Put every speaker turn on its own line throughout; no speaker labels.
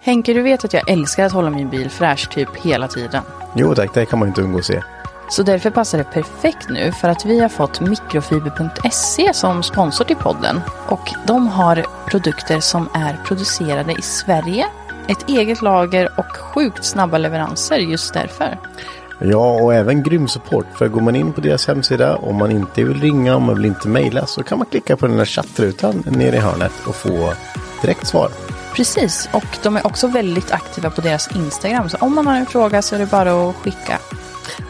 Henke, du vet att jag älskar att hålla min bil fräsch typ hela tiden.
Jo tack, det kan man inte undgå att se.
Så därför passar det perfekt nu för att vi har fått mikrofiber.se som sponsor till podden. Och de har produkter som är producerade i Sverige, ett eget lager och sjukt snabba leveranser just därför.
Ja, och även grym support. För går man in på deras hemsida, om man inte vill ringa, om man vill inte mejla, så kan man klicka på den där chattrutan nere i hörnet och få direkt svar.
Precis, och de är också väldigt aktiva på deras Instagram. Så om man har en fråga så är det bara att skicka.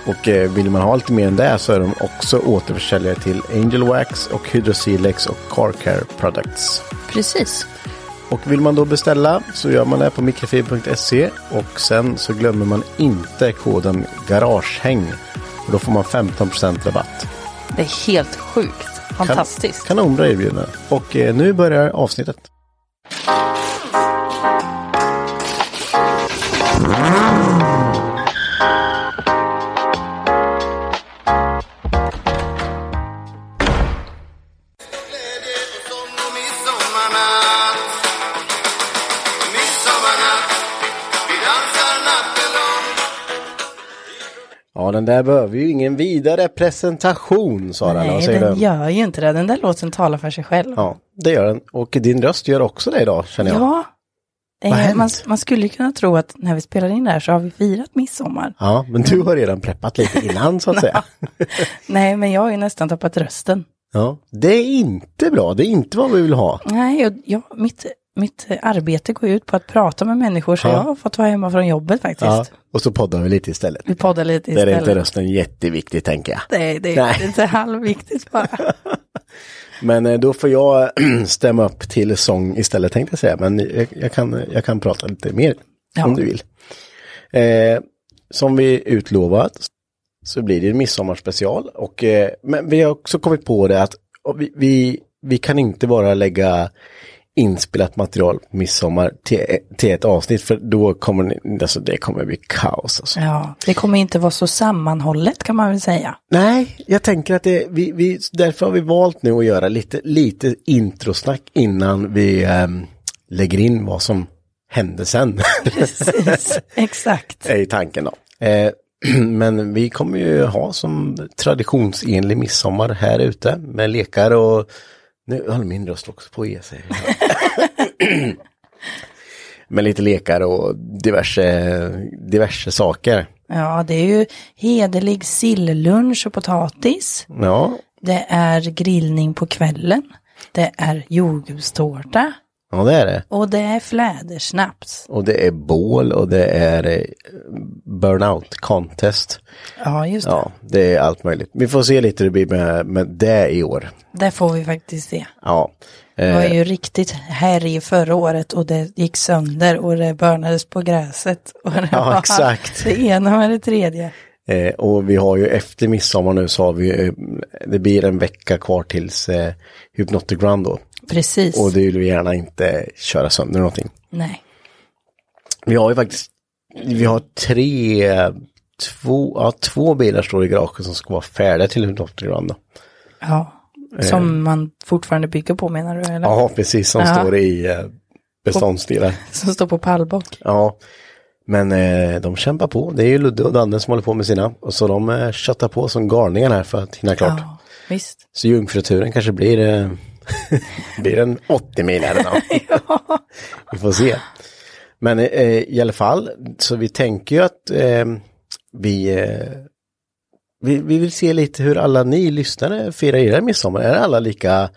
Och eh, vill man ha lite mer än det så är de också återförsäljare till Angel Wax och Hydrosilex och Car Care Products.
Precis.
Och vill man då beställa så gör man det på mikrofiber.se och sen så glömmer man inte koden garagehäng. Och då får man 15% rabatt.
Det är helt sjukt. Fantastiskt.
Kan, kanonbra erbjudande. Och eh, nu börjar avsnittet.
Glädje på sång och midsommarnatt Midsommarnatt Vi dansar natten lång
Ja, den där behöver ju ingen vidare presentation, Sara. Vad
Nej,
säger
den
du?
gör ju inte det. Den där låten talar för sig själv.
Ja, det gör den. Och din röst gör också det idag, känner jag.
Ja.
har
Eh,
hänt?
man, man skulle kunna tro att när vi spelar in det här så har vi firat midsommar.
Ja, men du har redan preppat lite innan, så att säga.
Nej, men jag har ju nästan tappat rösten.
Ja, det är inte bra. Det är inte vad vi vill ha.
Nej, jag, jag, mitt, mitt arbete går ju ut på att prata med människor så
Ja.
jag har fått vara hemma från jobbet faktiskt.
Ja, och så poddar vi lite istället.
Vi poddar lite
Där är
istället.
inte rösten jätteviktig, tänker jag.
Nej, det
Nej.
är inte halvviktigt bara.
Men eh, då får jag stämma upp till sång istället tänkte jag säga. Men jag, jag, kan, jag kan prata lite mer
Ja.
om du vill. Eh, som vi utlovat så blir det en midsommarspecial. Och, eh, men vi har också kommit på det att och vi, vi, vi kan inte bara lägga inspelat material på midsommar till, till ett avsnitt för då kommer ni, alltså det kommer bli kaos. Alltså.
Ja, det kommer inte vara så sammanhållet kan man väl säga.
Nej, jag tänker att det, vi, vi, därför har vi valt nu att göra lite, lite introsnack innan vi ehm, lägger in vad som hände sen.
Precis, exakt.
är i tanken då. Eh, men vi kommer ju ha som traditionsenlig midsommar här ute med lekar och nu höll min röst också på att ge sig. med lite lekar och diverse, diverse saker.
Ja, det är ju hederlig sillunch och potatis.
Ja,
Det är grillning på kvällen. Det är jordgubbstårta.
ja det är det.
Och det är flädersnaps.
Och det är bål och det är eh, burnout contest.
Ja, just det.
Ja, det är allt möjligt. Vi får se lite hur det blir med, med det i år.
Det får vi faktiskt se.
Ja,
Det var
eh,
ju riktigt härj förra året och det gick sönder och det börnades på gräset. Och det
Ja,
var
exakt.
Det ena med det tredje.
eh, och vi har ju efter midsommar nu så har vi, eh, det blir en vecka kvar tills eh, Hypnotic Run då.
Precis.
Och du vill vi gärna inte köra sönder någonting.
Nej.
Vi har ju faktiskt, vi har tre, två, ja, två bilar står i garaget som ska vara färdiga till helikoptergrann. då.
Ja. Som man fortfarande bygger på menar du? Eller?
Eh. Ja, precis, som
Ja.
står i eh, beståndsdelar.
Som står på pallbock.
Ja, men eh, de kämpar på. Det är ju Ludde och Danne som håller på med sina. Och så de eh, köttar på som galningar här för att hinna klart.
Ja, visst.
Så jungfruturen kanske blir, eh, blir en 80 milare då. Vi får se. Men eh, i alla fall, så vi tänker ju att eh, vi, eh, vi, vi vill se lite hur alla ni lyssnare firar era midsommar. Är alla lika,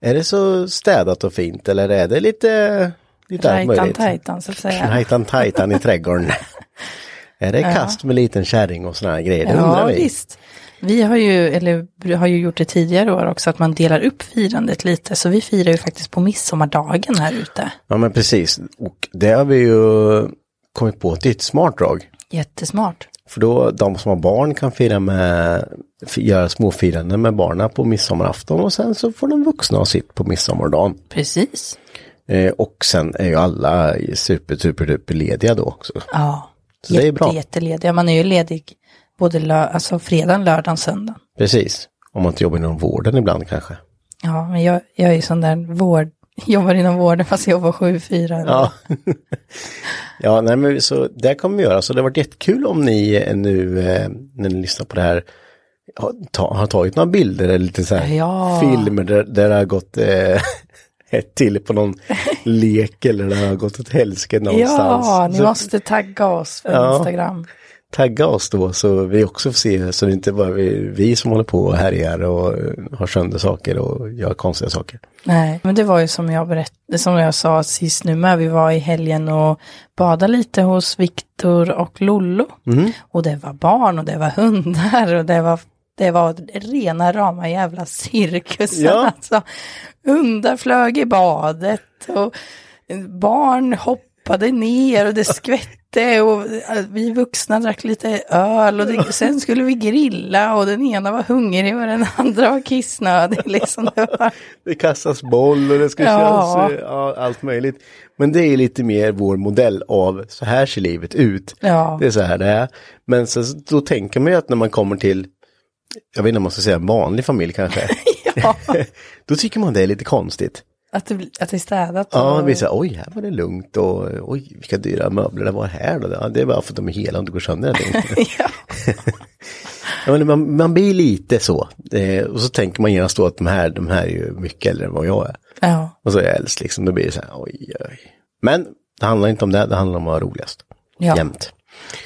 är det så städat och fint eller är det lite, lite allt
Rajtan
möjligt?
tajtan så att säga.
Rajtan tajtan i trädgården. är det kast med liten kärring och sådana grejer? Det undrar
Ja,
vi.
visst. Vi har ju, eller har ju gjort det tidigare år också, att man delar upp firandet lite. Så vi firar ju faktiskt på midsommardagen här ute.
Ja men precis. Och det har vi ju kommit på ett nytt smart drag.
Jättesmart.
För då de som har barn kan fira med, f- göra småfiranden med barnen på midsommarafton och sen så får de vuxna ha sitt på midsommardagen.
Precis.
Eh, och sen är ju alla super, super, super lediga då också.
Ja.
Så det är bra.
Jättelediga. Man är ju ledig både lö- alltså fredagen, lördagen, söndagen.
Precis. Om man inte jobbar inom vården ibland kanske.
Ja, men jag, jag är ju sån där vård, jobbar inom vården fast jag jobbar 7-4.
Ja. ja, nej men så det kommer vi göra. Så det har varit jättekul om ni eh, nu eh, när ni lyssnar på det här har, ta, har tagit några bilder eller lite så här
Ja.
filmer där, där det har gått eh, ett till på någon lek eller där det har gått åt helsike någonstans.
Ja, ni
så
måste tagga oss på
Ja.
Instagram.
Tagga oss då så vi också får se så det är inte bara vi, vi som håller på och härjar och eh, har sönder saker och gör konstiga saker.
Nej, men det var ju som jag, berätt- som jag sa sist nu med, vi var i helgen och badade lite hos Viktor och Lollo. Och det var barn och det var hundar och det var, det var rena rama jävla cirkusen.
Ja.
Alltså, hundar flög i badet och barn hoppade ner och det skvätte och äh, vi vuxna drack lite öl och det, sen skulle vi grilla och den ena var hungrig och den andra var kissnödig. Liksom. Det var,
Det kastas boll och det ska
Ja.
köras, eh, ja, allt möjligt. Men det är lite mer vår modell av så här ser livet ut.
ja.
Det är så här det är. Men så, då tänker man ju att när man kommer till, jag vet inte om man ska säga en vanlig familj kanske.
Ja,
då tycker man det är lite konstigt.
att det, att det är städat.
Ja,
och-
vi säger oj, här var det lugnt och oj, vilka dyra möbler det var här då. Ja, det är bara för att de är hela och inte går sönder. någonting.
ja.
Ja, men man, man blir lite så. Eh, och så tänker man genast då att de här, de här är ju mycket äldre än vad jag är.
ja,
Och så är jag äldst liksom, då blir det så här, oj, oj. Men det handlar inte om det, det handlar om att vara roligast.
Ja.
Jämt.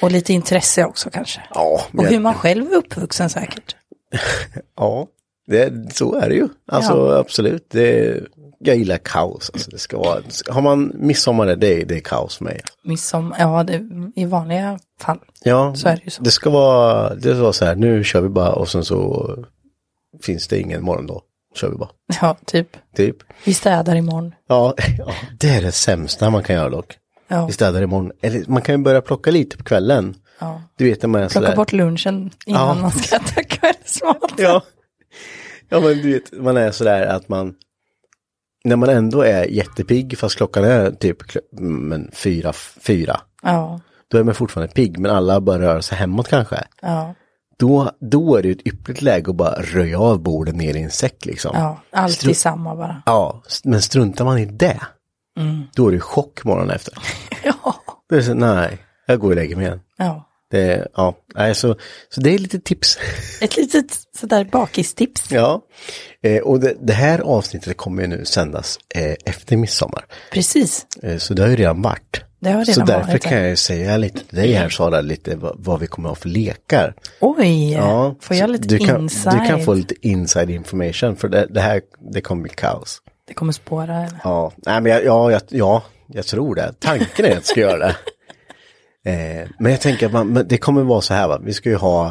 och lite intresse också kanske.
Ja,
Och
men-
hur man själv är uppvuxen säkert.
ja det, så är det ju. Alltså absolut, det, jag gillar kaos. Alltså, det ska vara, har man midsommar, det, det är kaos för mig.
Midsommar, ja, det, i vanliga fall.
Ja,
Så är det ju så.
ska vara, det ska vara så här, nu kör vi bara och sen så finns det ingen morgon då. Kör vi bara,
Ja, typ.
typ.
Vi städar imorgon.
Ja, ja, det är det sämsta man kan göra dock.
Ja,
Vi städar imorgon, eller man kan ju börja plocka lite på kvällen.
ja.
Du vet när man är
Plocka
sådär-
bort lunchen innan
Ja.
man ska äta kvällsmat.
Ja. ja, men du vet, man är sådär att man, när man ändå är jättepigg, fast klockan är typ kl- men fyra, fyra,
Ja,
då är man fortfarande pigg, men alla bara rör sig hemåt kanske.
ja,
Då, då är det ju ett ypperligt läge att bara röja av borden ner i en säck liksom.
ja. Allt
Stru-
i samma bara.
Ja, s- men struntar man i det, då är det chock morgonen efter.
Mm. Ja,
Då är det så, nej, jag går och lägger mig igen.
ja.
Det, ja, nej, så, så det är lite tips.
Ett litet sådär bakistips.
Ja, eh, och det, det här avsnittet kommer ju nu sändas eh, efter midsommar.
Precis,
Eh, så det har ju redan varit.
det har redan
så därför
varit.
kan jag ju säga lite till dig här Sara, lite vad, vad vi kommer att ha för lekar.
Oj, får jag
så
lite
du kan,
insight?
Du kan få lite inside information, för det, det här det kommer bli kaos.
Det kommer spåra. Eller?
Ja, nej, men jag, ja, jag, ja, jag tror det. Tanken är att jag ska göra det. Eh, men jag tänker att man, men det kommer vara så här, va? vi ska ju ha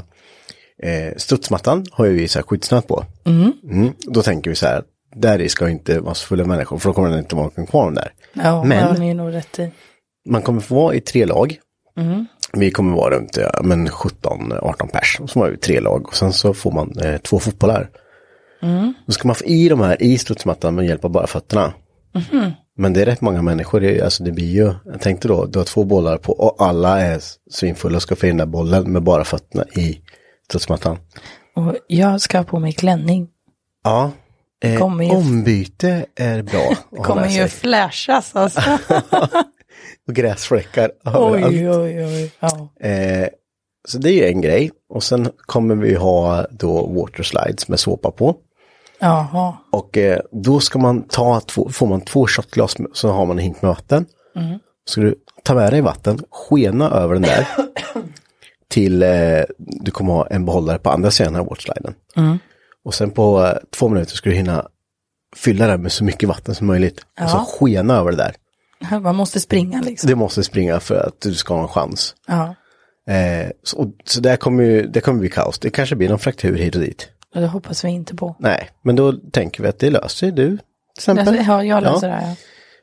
eh, studsmattan har ju vi så här skyddsnät på. Mm, då tänker vi så här, där i ska inte vara så fulla människor, för då kommer det inte vara någon kvar där.
Ja, men...
Men-
det har ni nog rätt i.
Man kommer få vara i tre lag.
Mm-hmm.
Vi kommer vara runt ja, men 17-18 pers, och så har vi tre lag och sen så får man eh, två fotbollar.
Mm.
Då ska man få i de här i studsmattan med hjälp av bara fötterna.
Mm-hmm.
Men det är rätt många människor, det, är- alltså det blir ju, jag tänkte då, du har två bollar på och alla är svinfulla och ska få in den där bollen med bara fötterna i studsmattan.
Och jag ska ha på mig klänning.
Ja, eh,
Kommer ju-
ombyte är bra att ha
Kommer
med
ju
sig.
flashas alltså.
Och gräsfläckar överallt.
oj, oj, oj. Ja.
Eh, så det är ju en grej. Och sen kommer vi ha då waterslides med såpa på.
Jaha.
Och eh, då ska man ta två, får man två shotglas med- så har man en hink med vatten. Ska du ta med dig vatten, skena över den där. till eh, du kommer ha en behållare på andra sidan av watersliden. Och sen på eh, två minuter ska du hinna fylla den med så mycket vatten som möjligt. Och så skena över det där.
Man måste springa liksom.
Du måste springa för att du ska ha en chans.
Ja.
Eh, så, och, så där kommer ju, det kommer bli kaos. Det kanske blir någon fraktur hit och dit.
Och Det hoppas vi inte på.
Nej, men då tänker vi att det löser ju du. Till exempel.
Alltså, Ja, jag löser det här. ja.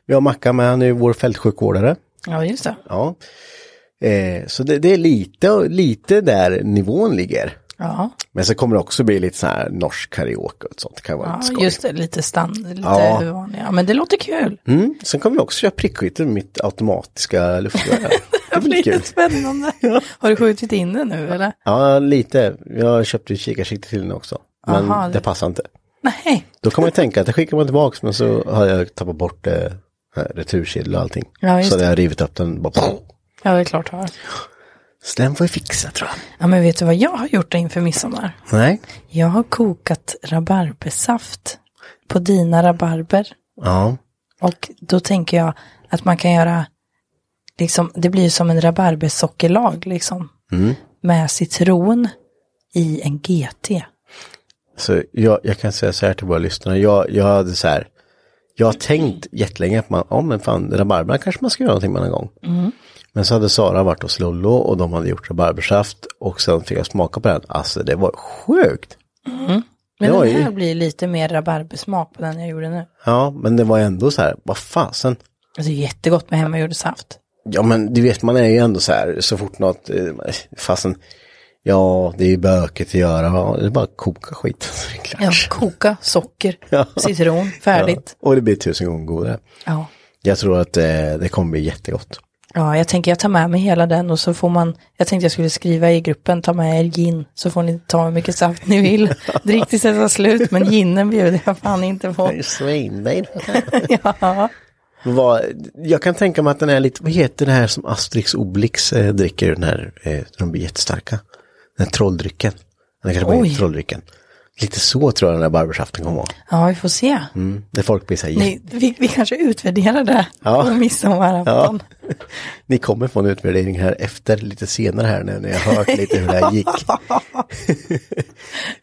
Vi har Macka med, han är ju vår fältsjukvårdare.
Ja, just det.
Ja. Eh, så det, det är lite, lite där nivån ligger.
Ja,
Men så kommer det också bli lite så här norsk karaoke och sånt. Det kan vara
ja
lite skoj.
just det. Lite stand, lite
Ja.
ja. vanliga. Men det låter kul.
Mm. Sen kommer vi också köra prickskytte med mitt automatiska luftgevär. det blir kul.
spännande. Har du skjutit in det nu eller?
Ja, lite. Jag köpte ju kikarsikte till den också. Men
Aha,
det
det-
passar inte.
Nej.
Då kan man ju tänka att det skickar man tillbaks men så har jag tappat bort eh, returkedjor och allting.
Ja, just
så hade jag rivit upp den. Bara,
Ja, det är klart jag har.
så den får vi fixa tror jag.
Ja, men vet du vad jag har gjort inför midsommar?
Nej.
Jag har kokat rabarbersaft på dina rabarber.
Ja.
Och då tänker jag att man kan göra, liksom, det blir ju som en rabarbersockerlag liksom. Med citron i en GT.
Så jag, jag kan säga så här till våra lyssnare. Jag, jag hade så här. Jag har tänkt jättelänge att man, ja men fan, rabarberna kanske man ska göra någonting med någon gång.
Mm.
Men så hade Sara varit hos Lollo och de hade gjort rabarbersaft och sen fick jag smaka på den. Alltså det var sjukt.
Men
Det var
den
ju-
här blir lite mer rabarbersmak på den jag gjorde nu.
Ja, men det var ändå så här, vad fasen.
Alltså jättegott med hemmagjord saft.
Ja men du vet man är ju ändå så här så fort något, eh, fasen, ja det är ju böket att göra, va? det är bara att koka skit. Det är klart.
Ja, koka, socker,
Ja.
citron, färdigt.
Ja, Och det blir tusen gånger godare.
Ja.
Jag tror att eh, det kommer bli jättegott.
ja, jag tänker jag tar med mig hela den och så får man, jag tänkte jag skulle skriva i gruppen, ta med er gin, så får ni ta hur mycket saft ni vill. Drick tills det tar slut, men ginen bjuder jag fan inte på.
Svindyr.
Ja,
Vad- Jag kan tänka mig att den är lite, vad heter det här som Asterix och Obelix eh, dricker, den här, eh, de blir jättestarka. Den här trolldrycken. Den kanske bara heter
Oj.
trolldrycken. Lite så tror jag den här barbersaften kommer vara.
ja vi får se.
Mm. Där folk blir så här,
Nej, vi, vi kanske utvärderar det
Ja.
på midsommarafton.
Ni kommer få en utvärdering här efter, lite senare här nu när jag har hört lite hur det här gick.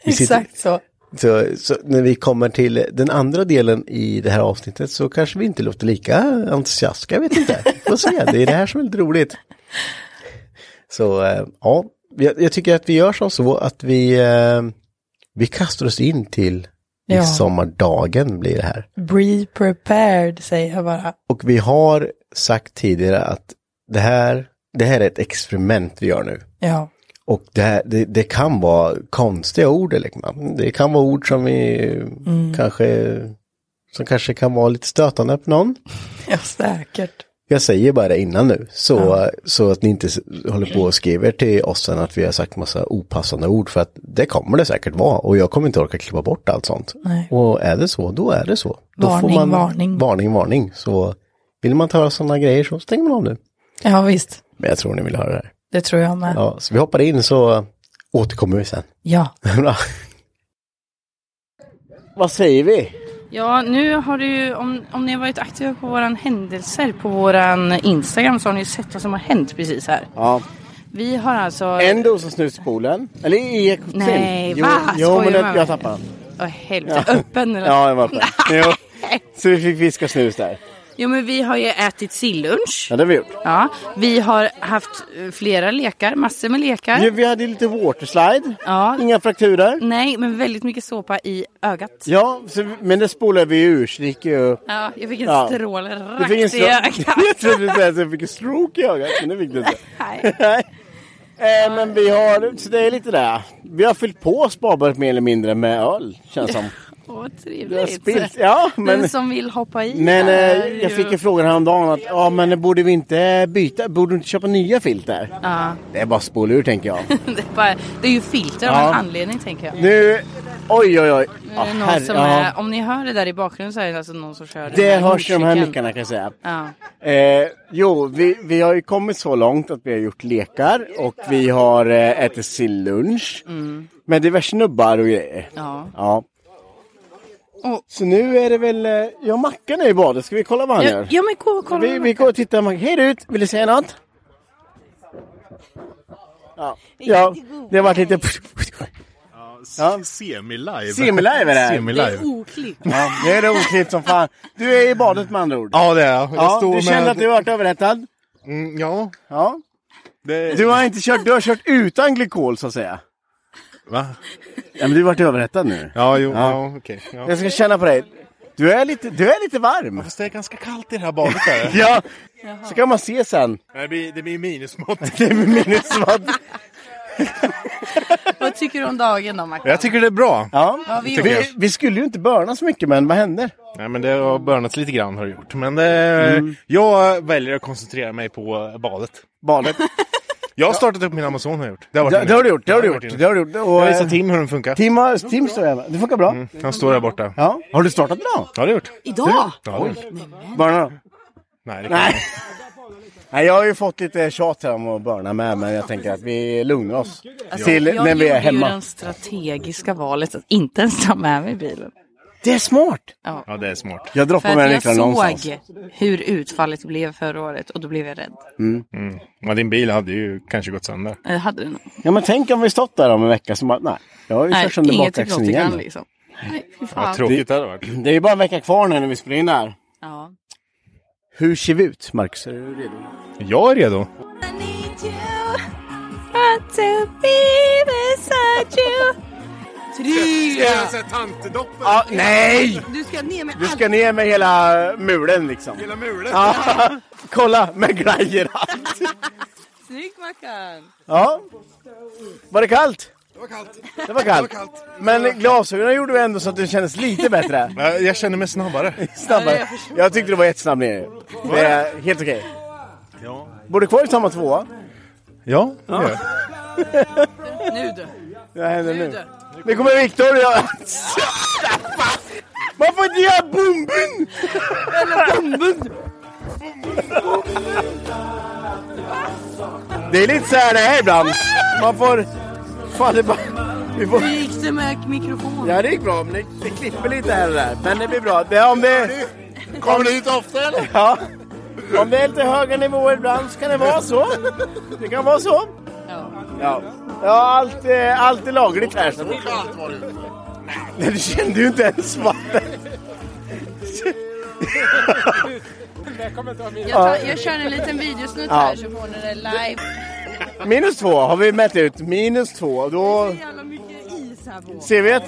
Vi sitter-
Exakt så.
Så, så när vi kommer till den andra delen i det här avsnittet så kanske vi inte låter lika entusiastiska, jag vet inte. Vi Får se, det är det här som är lite roligt. Så eh, ja, jag, jag tycker att vi gör som så att vi, eh, vi kastar oss in till
Ja.
midsommardagen blir det här.
Be prepared säger jag bara.
Och vi har sagt tidigare att det här, det här är ett experiment vi gör nu.
Ja,
Och det, här, det, det kan vara konstiga ord, eller liksom. det kan vara ord som vi
Mm.
kanske som kanske kan vara lite stötande på någon.
ja säkert.
Jag säger bara det innan nu, så, så att ni inte s- håller på och skriver till oss sen att vi har sagt massa opassande ord, för att det kommer det säkert vara, och jag kommer inte orka klippa bort allt sånt.
Nej.
Och är det så, då är det så. Då
Varning, varning.
Varning, varning. Så vill man inte höra sådana grejer så stänger man av nu.
Ja, visst.
Men jag tror ni vill höra det här.
Det tror jag med.
Ja, så vi hoppar in så återkommer vi sen.
Ja.
Bra. Vad säger vi?
Ja, nu har du ju, om, om ni har varit aktiva på våran händelser på våran Instagram så har ni ju sett vad som har hänt precis här.
Ja.
Vi har alltså...
En dosa snus i poolen. Eller i ekotin.
Nej,
jo,
va?
Jo,
Skojar
men
du
det,
med
jag
mig?
tappade den.
Åh helvete, öppen eller?
Ja, jag var öppen. Jo. Så vi fick fiska snus där.
Jo men vi har ju ätit sillunch.
Ja, det har vi gjort.
Ja, vi har haft eh, flera lekar, massor med lekar.
Jo, vi hade ju lite waterslide.
Ja.
Inga frakturer.
Nej, men väldigt mycket såpa i ögat.
Ja, så, vi- men det spolade vi ur. Så det gick ju...
Ja, jag fick en
Ja.
stråle
Du
rakt
fick en
i ögat.
stroke. jag trodde du säga så jag fick en stroke i ögat, men det fick du inte.
Nej.
Nej. Eh, men vi har, så det är lite där. Vi har fyllt på sparbaret mer eller mindre med öl, känns som.
Vad
Du har
trevligt.
spilt. Ja, men...
Den som vill hoppa i
Men
är
eh, jag
ju-
fick en fråga häromdagen att ja men borde vi inte byta, borde du inte köpa nya filter?
Ja,
Det är bara att spola ur tänker jag.
det, är bara, det är ju filter av
Ja.
en anledning tänker jag.
Nu, oj oj Ah, oj.
Nu
Ja,
är det någon
herre-
som
ja.
är, om ni hör det där i bakgrunden så är det alltså någon som kör den
Det
här
hörs i de här
motorcykeln.
mickarna kan jag säga.
Ja.
Eh, jo, vi, vi har ju kommit så långt att vi har gjort lekar och vi har eh, ätit sin lunch. Med diverse snubbar och grejer.
Mm. Ja.
Ja.
Och-
Så nu är det väl, eh, ja Mackan är i badet, ska vi kolla vad han
Ja,
gör?
ja men gå och kolla.
Vi, vi går och tittar, Mackan. hej du, vill du säga något? Ja, ja det har varit lite... Ja.
Ja. Semi-live.
Semilive är det här.
Semi-live.
oklippt.
Ja, det är oklippt som fan. Du är i badet med andra ord.
Ja det är jag. jag.
Ja,
står
du kände
med...
att du varit överhettad?
Mm, ja.
Ja.
Det...
Du har inte kört, du har kört utan glykol så att säga.
Va?
Ja, men du har varit överrättad nu.
Ja, jo,
Ja.
ja. okej. Ja.
Jag ska känna på dig. Du är lite, du är lite varm.
Fast det är ganska kallt i det här badet där.
Ja, så kan man se sen.
Nej, Det blir, det blir minusmått.
Det är minusvadd.
Vad tycker du om dagen då Mackan?
Jag tycker det är bra.
Ja.
vi gjorde
Vi, vi skulle ju inte börna så mycket men vad hände?
Nej, men det har börnat lite grann har det gjort. Men det,
Mm.
jag väljer att koncentrera mig på eh, badet.
Badet.
Jag har startat upp min Amazon har jag gjort. Det har, varit
Det,
inne.
det har du gjort, det har du
Ja,
gjort. Det
varit inne.
har du gjort. Och,
Jag visar
eh,
Tim hur den funkar.
Tim, har- Tim eh, står jag med. Det funkar bra.
Han står där borta. Ja,
Ja. Mm. Har du startat idag?
det har jag gjort.
Idag?
Ja, Oj.
Börna då?
Nej, det kan
Nej. Nej, jag har ju fått lite tjat här om att börna med men jag tänker att vi lugnar oss. Till
Alltså, jag
när vi är
gjorde ju
hemma.
det strategiska valet att inte ens ta med mig bilen.
Det är smart!
Ja, det är smart.
Jag
För
droppar med
att jag
den nycklarna
såg
någonstans.
hur utfallet blev förra året och då blev jag rädd.
Ja, din bil hade ju kanske gått sönder.
Jag Eh, hade den.
Ja men tänk om vi stått där om en vecka som bara, nej, jag har ju
Nej,
kört sönder
inget till
bakaxeln
Gottigan
igen.
liksom. Nej, fy
Vad
fan.
tråkigt det hade varit.
Det är ju bara en vecka kvar nu när vi spelar in det här.
Ja.
Hur ser vi ut, Marcus? Är du redo?
Jag är redo.
Ja, nej!
Du ska ner med
Du ska ner med hela mulen liksom. Hela mulen? Ja, kolla med glajer allt.
Snygg Mackan!
Ja. Var det kallt? Det var kallt. Det var kallt. Men glasögonen gjorde vi ändå så att det kändes lite bättre.
Ja, Jag känner mig snabbare.
Ja,
Snabbare.
jag förstår.
Jag tyckte det var jättesnabb ner. Det är helt okej. Bor du kvar i samma tvåa?
Ja, det gör jag.
Nu du!
Vad händer nu? Nu kommer Viktor och jag... Man får inte göra bomben! Det är lite så här det är ibland. Man får... Fan det bara... Vi får...
Hur gick det med mikrofonen?
Ja det gick bra, men det, det klipper lite här och där. Men det blir bra. Det, om det... Kommer du hit ofta eller? Ja. Om det är lite höga nivåer ibland så kan det vara så. Det kan vara så.
Ja.
Ja, ja allt, eh, allt är lagligt här. Så. Kallt var det. Nej, du kände ju inte ens vatten.
Jag, tar, jag kör en liten videosnutt här så får ni det live.
Minus två har vi mätt ut. Minus två. Då
jävla mycket is här på.
ser vi att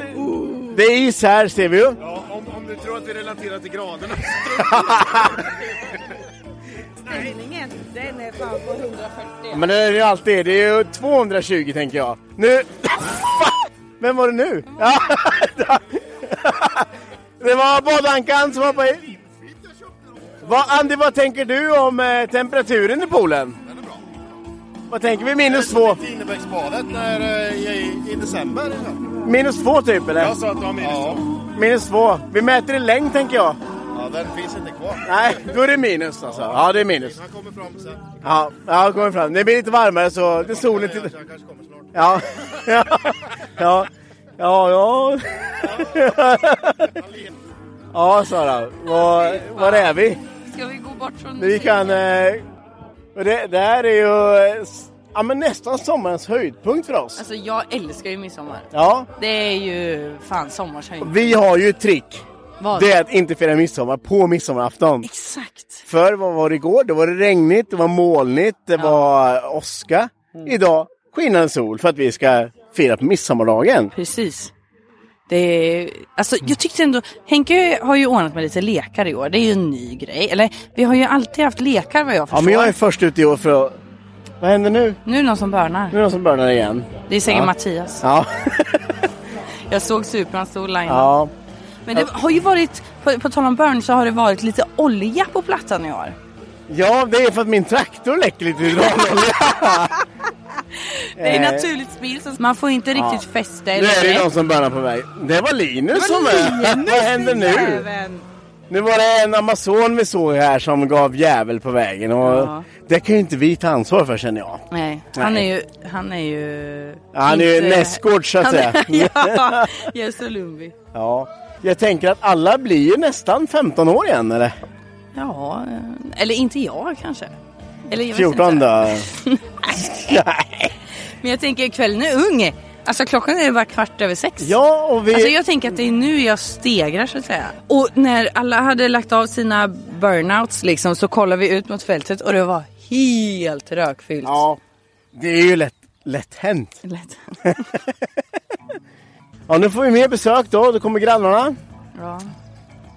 det är is här, ser vi ju.
Ja, om, om du tror att vi relaterar till graderna.
Stängningen, den är fan på 140.
Men det är ju alltid. Det är ju 220 tänker jag. Nu... Fan! Vem var det nu? Ja. Det var badankan som hoppade i. Vad, Andy, vad tänker du om eh, temperaturen i poolen? Den är bra. Vad tänker vi? Minus två?
Tinnebergsbadet när, eh, i, i december.
Minus två typ eller?
sa att det var minus ja.
Minus två. Vi mäter i längd tänker jag.
ja, den finns inte kvar.
Nej, då är det minus alltså. Ja, det är minus.
Han kommer fram sen.
Ja, ja kommer fram. Det blir lite varmare så det är solen till...
Han kanske kommer snart.
Ja, ja, ja, ja. Ja, ja Sara. Var, var är vi?
Ska vi gå bort från
Vi kan... Eh, och det, det här är ju eh, s- ja, men nästan sommarens höjdpunkt för oss.
Alltså jag älskar ju midsommar.
Ja,
Det är ju fan sommarshöjd.
vi har ju ett trick.
Vad?
Det är att inte fira midsommar på midsommarafton.
Exakt.
Förr, vad var det igår? Då var det regnigt, det var molnigt, det var eh, åska.
Mm.
Idag skinande sol för att vi ska fira på midsommardagen.
Precis. Det är, alltså, jag tyckte ändå, Henke har ju ordnat med lite lekar i år. Det är ju en ny grej. Eller vi har ju alltid haft lekar vad jag förstår.
Ja, men jag är först ut i år för att... Vad händer nu?
Nu är det någon som
Nu
börnar.
är det någon som börnar igen.
Det är säkert Mattias.
Ja.
Jag såg Superman stod line.
ja.
Men det har ju varit, på, på tal om Burn så har det varit lite olja på plattan i år.
Ja, det är för att min traktor läcker lite hydraulolja.
Det är naturligt spill så man får inte riktigt fäste
Nu är det
eller
någon som börjar på väg. Det var Linus som är. Vad händer nu?
Även.
Nu var det en amazon vi såg här som gav jävel på vägen och
Ja.
det kan ju inte vi ta ansvar för känner jag.
Nej, han är
Nej.
ju... Han är ju...
Han är ju
inte-
nästgård så att
Han
säga.
är- ja, Jösse Lundby.
Ja. Jag tänker att alla blir ju nästan 15 år igen eller?
Ja, eh, eller inte jag kanske. Eller jag vet
14
inte.
då.
Men jag tänker kvällen är ung. Alltså klockan är ju bara kvart över sex.
Ja och vi...
Alltså jag tänker att det är nu jag stegrar så att säga. Och när alla hade lagt av sina burnouts liksom så kollade vi ut mot fältet och det var helt rökfyllt.
Ja. Det är ju lätt, lätt hänt.
Lätt.
Ja nu får vi mer besök då. Då kommer grannarna.
Ja.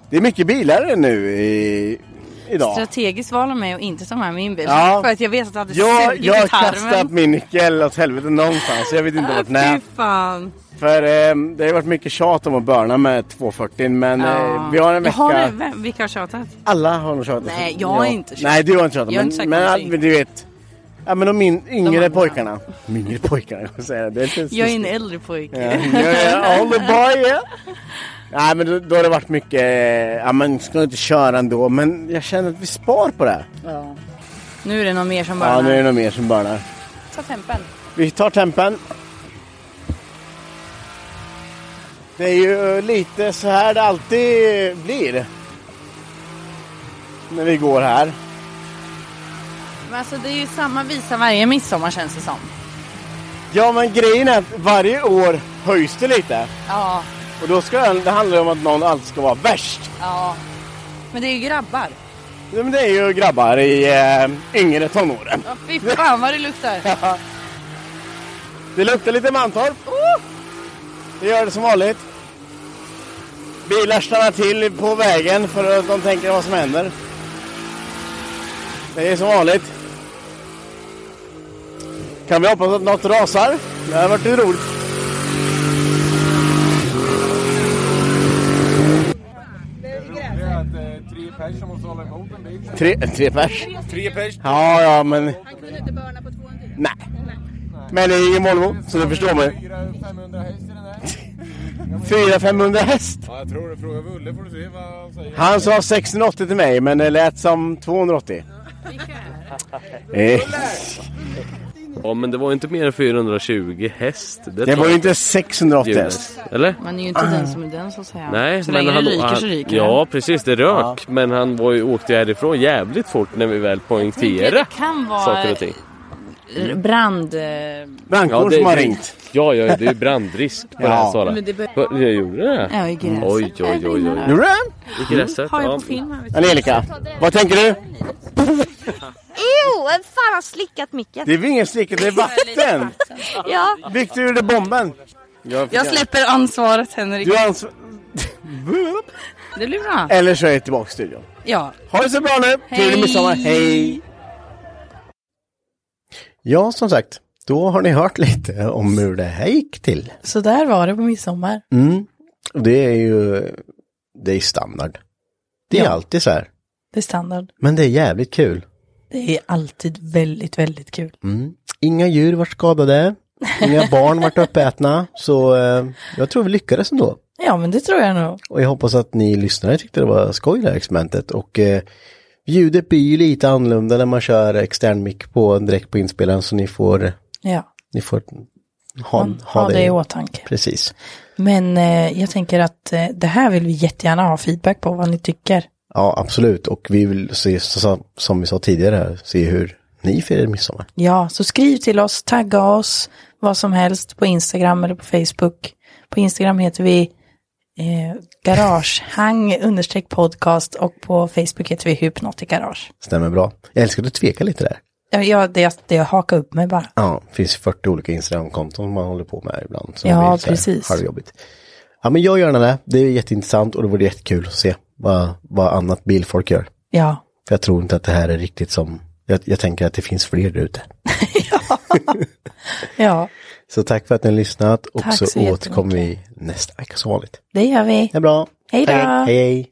Det är mycket bilar nu i... idag.
Strategiskt val av mig att inte ta med min bil.
Ja.
För att jag vet att det hade
Jag,
sugit
jag har
i tarmen.
kastat min nyckel åt helvete någonstans. Jag vet inte vart den
Fy
är.
fan.
För eh, det har ju varit mycket tjat om att börna med 240 men eh, vi har en
Jag
vecka.
Har, vem, vilka har tjatat?
Alla har nog tjatat.
Nej, jag har inte tjatat.
Nej, du har inte tjatat.
Jag har
Men,
inte sagt
men,
någonting.
men du vet. Ja, men de min, yngre
andra.
pojkarna. Yngre pojkarna, jag säger det. det är inte så
Jag är en
stort.
äldre pojke.
Ja, jag är older boy. ja. Nej, men då, då har det varit mycket. eh, Ja, men ska du inte köra ändå. Men jag känner att vi spar på det. här.
Ja. Nu är det någon mer som bara...
Ja, nu är det nog mer som börnar.
Ta tempen.
Vi tar tempen. Det är ju eh, lite så här det alltid blir. När vi går här.
Men alltså det är ju samma visa varje midsommar känns det som.
Ja men grejen är att varje år höjs det lite.
Ja,
Och då ska det handla om att någon alltid ska vara värst.
ja. Men det är ju grabbar.
Ja, Men det är ju grabbar i eh, yngre tonåren.
Ja, fy fan vad det luktar.
Det luktar lite Mantorp. Det gör det som vanligt. Bilar stannar till på vägen för att de tänker vad som händer. Det är som vanligt. Kan vi hoppas att något rasar? Det hade varit lite roligt.
Tre pers som måste hålla emot en bil.
Tre, tre pers?
Tre pers.
Ja, ja, men... Nej. Men det är ingen Volvo, så det förstår man
500 häst i den där.
400-500 häst.
Ja, jag tror det. Fråga Vulle får du se vad han säger.
Han sa 680 till mig, men det lät som 280. Eh,
Ja men det var ju inte mer än 420 häst.
Det var ju inte
tar
680
jag.
häst.
Eller?
Man är ju inte den som är den så att säga.
Nej,
så länge
han,
det ryker
han,
så ryker
Ja precis, det rök. Men han var ju, åkte ju härifrån jävligt fort när vi väl
det.
poängterade
Det kan
saker
vara
och ting.
brand... eh,
Brandkår
det,
som har
det-
ringt.
Ja, ja, det är ju brandrisk på
Ja.
den här Sara.
Men det be-
Vad- Jag gjorde det?
Ja, i gräset.
Oj, oj, oj, oj.
Gjorde du
I gräset.
Har jag
Ja.
på film här vet du.
Angelica, vad tänker du?
Jo, vem fan har slickat micken?
Det är väl ingen slicka, det är vatten!
Ja,
Victor gjorde bomben.
Jag släpper ansvaret Henrik.
Du är ansvar...
Det blir bra.
Eller så är jag tillbaka i studion.
Ja.
Ha det så bra nu! Trevlig
Hej.
midsommar, hej! Ja, som sagt, då har ni hört lite om hur det här gick till.
Så där var det på midsommar.
Mm. Och Det är ju, det är standard. Det är
Ja.
alltid så här.
Det är standard.
Men det är jävligt kul.
Det är alltid väldigt, väldigt kul.
Mm. Inga djur vart skadade. Inga barn vart uppätna. Så eh, jag tror vi lyckades ändå.
Ja, men det tror jag nog.
Och jag hoppas att ni lyssnare tyckte det var skoj det här experimentet. Och eh, ljudet blir ju lite annorlunda när man kör extern mic på direkt på inspelaren så ni får,
Ja,
ni får ha, Mm, ha,
ha
det.
det i åtanke.
Precis.
Men eh, jag tänker att eh, det här vill vi jättegärna ha feedback på vad ni tycker.
Ja, absolut. Och vi vill se, så- så- som vi sa tidigare, här, se hur ni firar midsommar.
Ja, så skriv till oss, tagga oss, vad som helst på Instagram eller på Facebook. På Instagram heter vi eh, garagehang understreck podcast och på Facebook heter vi hypnot i garage.
Stämmer bra. Jag älskar att du tvekar lite där.
Ja, Ja, det, det jag hakar upp mig bara.
Ja, det finns 40 olika Instagram-konton som man håller på med ibland. Så
Ja,
det blir så här
precis.
Halvjobbigt. Ja, men jag gör gärna det. Det är jätteintressant och det vore jättekul att se vad, vad annat bilfolk gör.
Ja,
För jag tror inte att det här är riktigt som, jag, jag tänker att det finns fler där ute.
ja,
Så tack för att ni har lyssnat och
Tack
så,
så
återkommer vi nästa vecka som vanligt.
det gör vi.
Det är bra.
Hej då!
Hej, hej.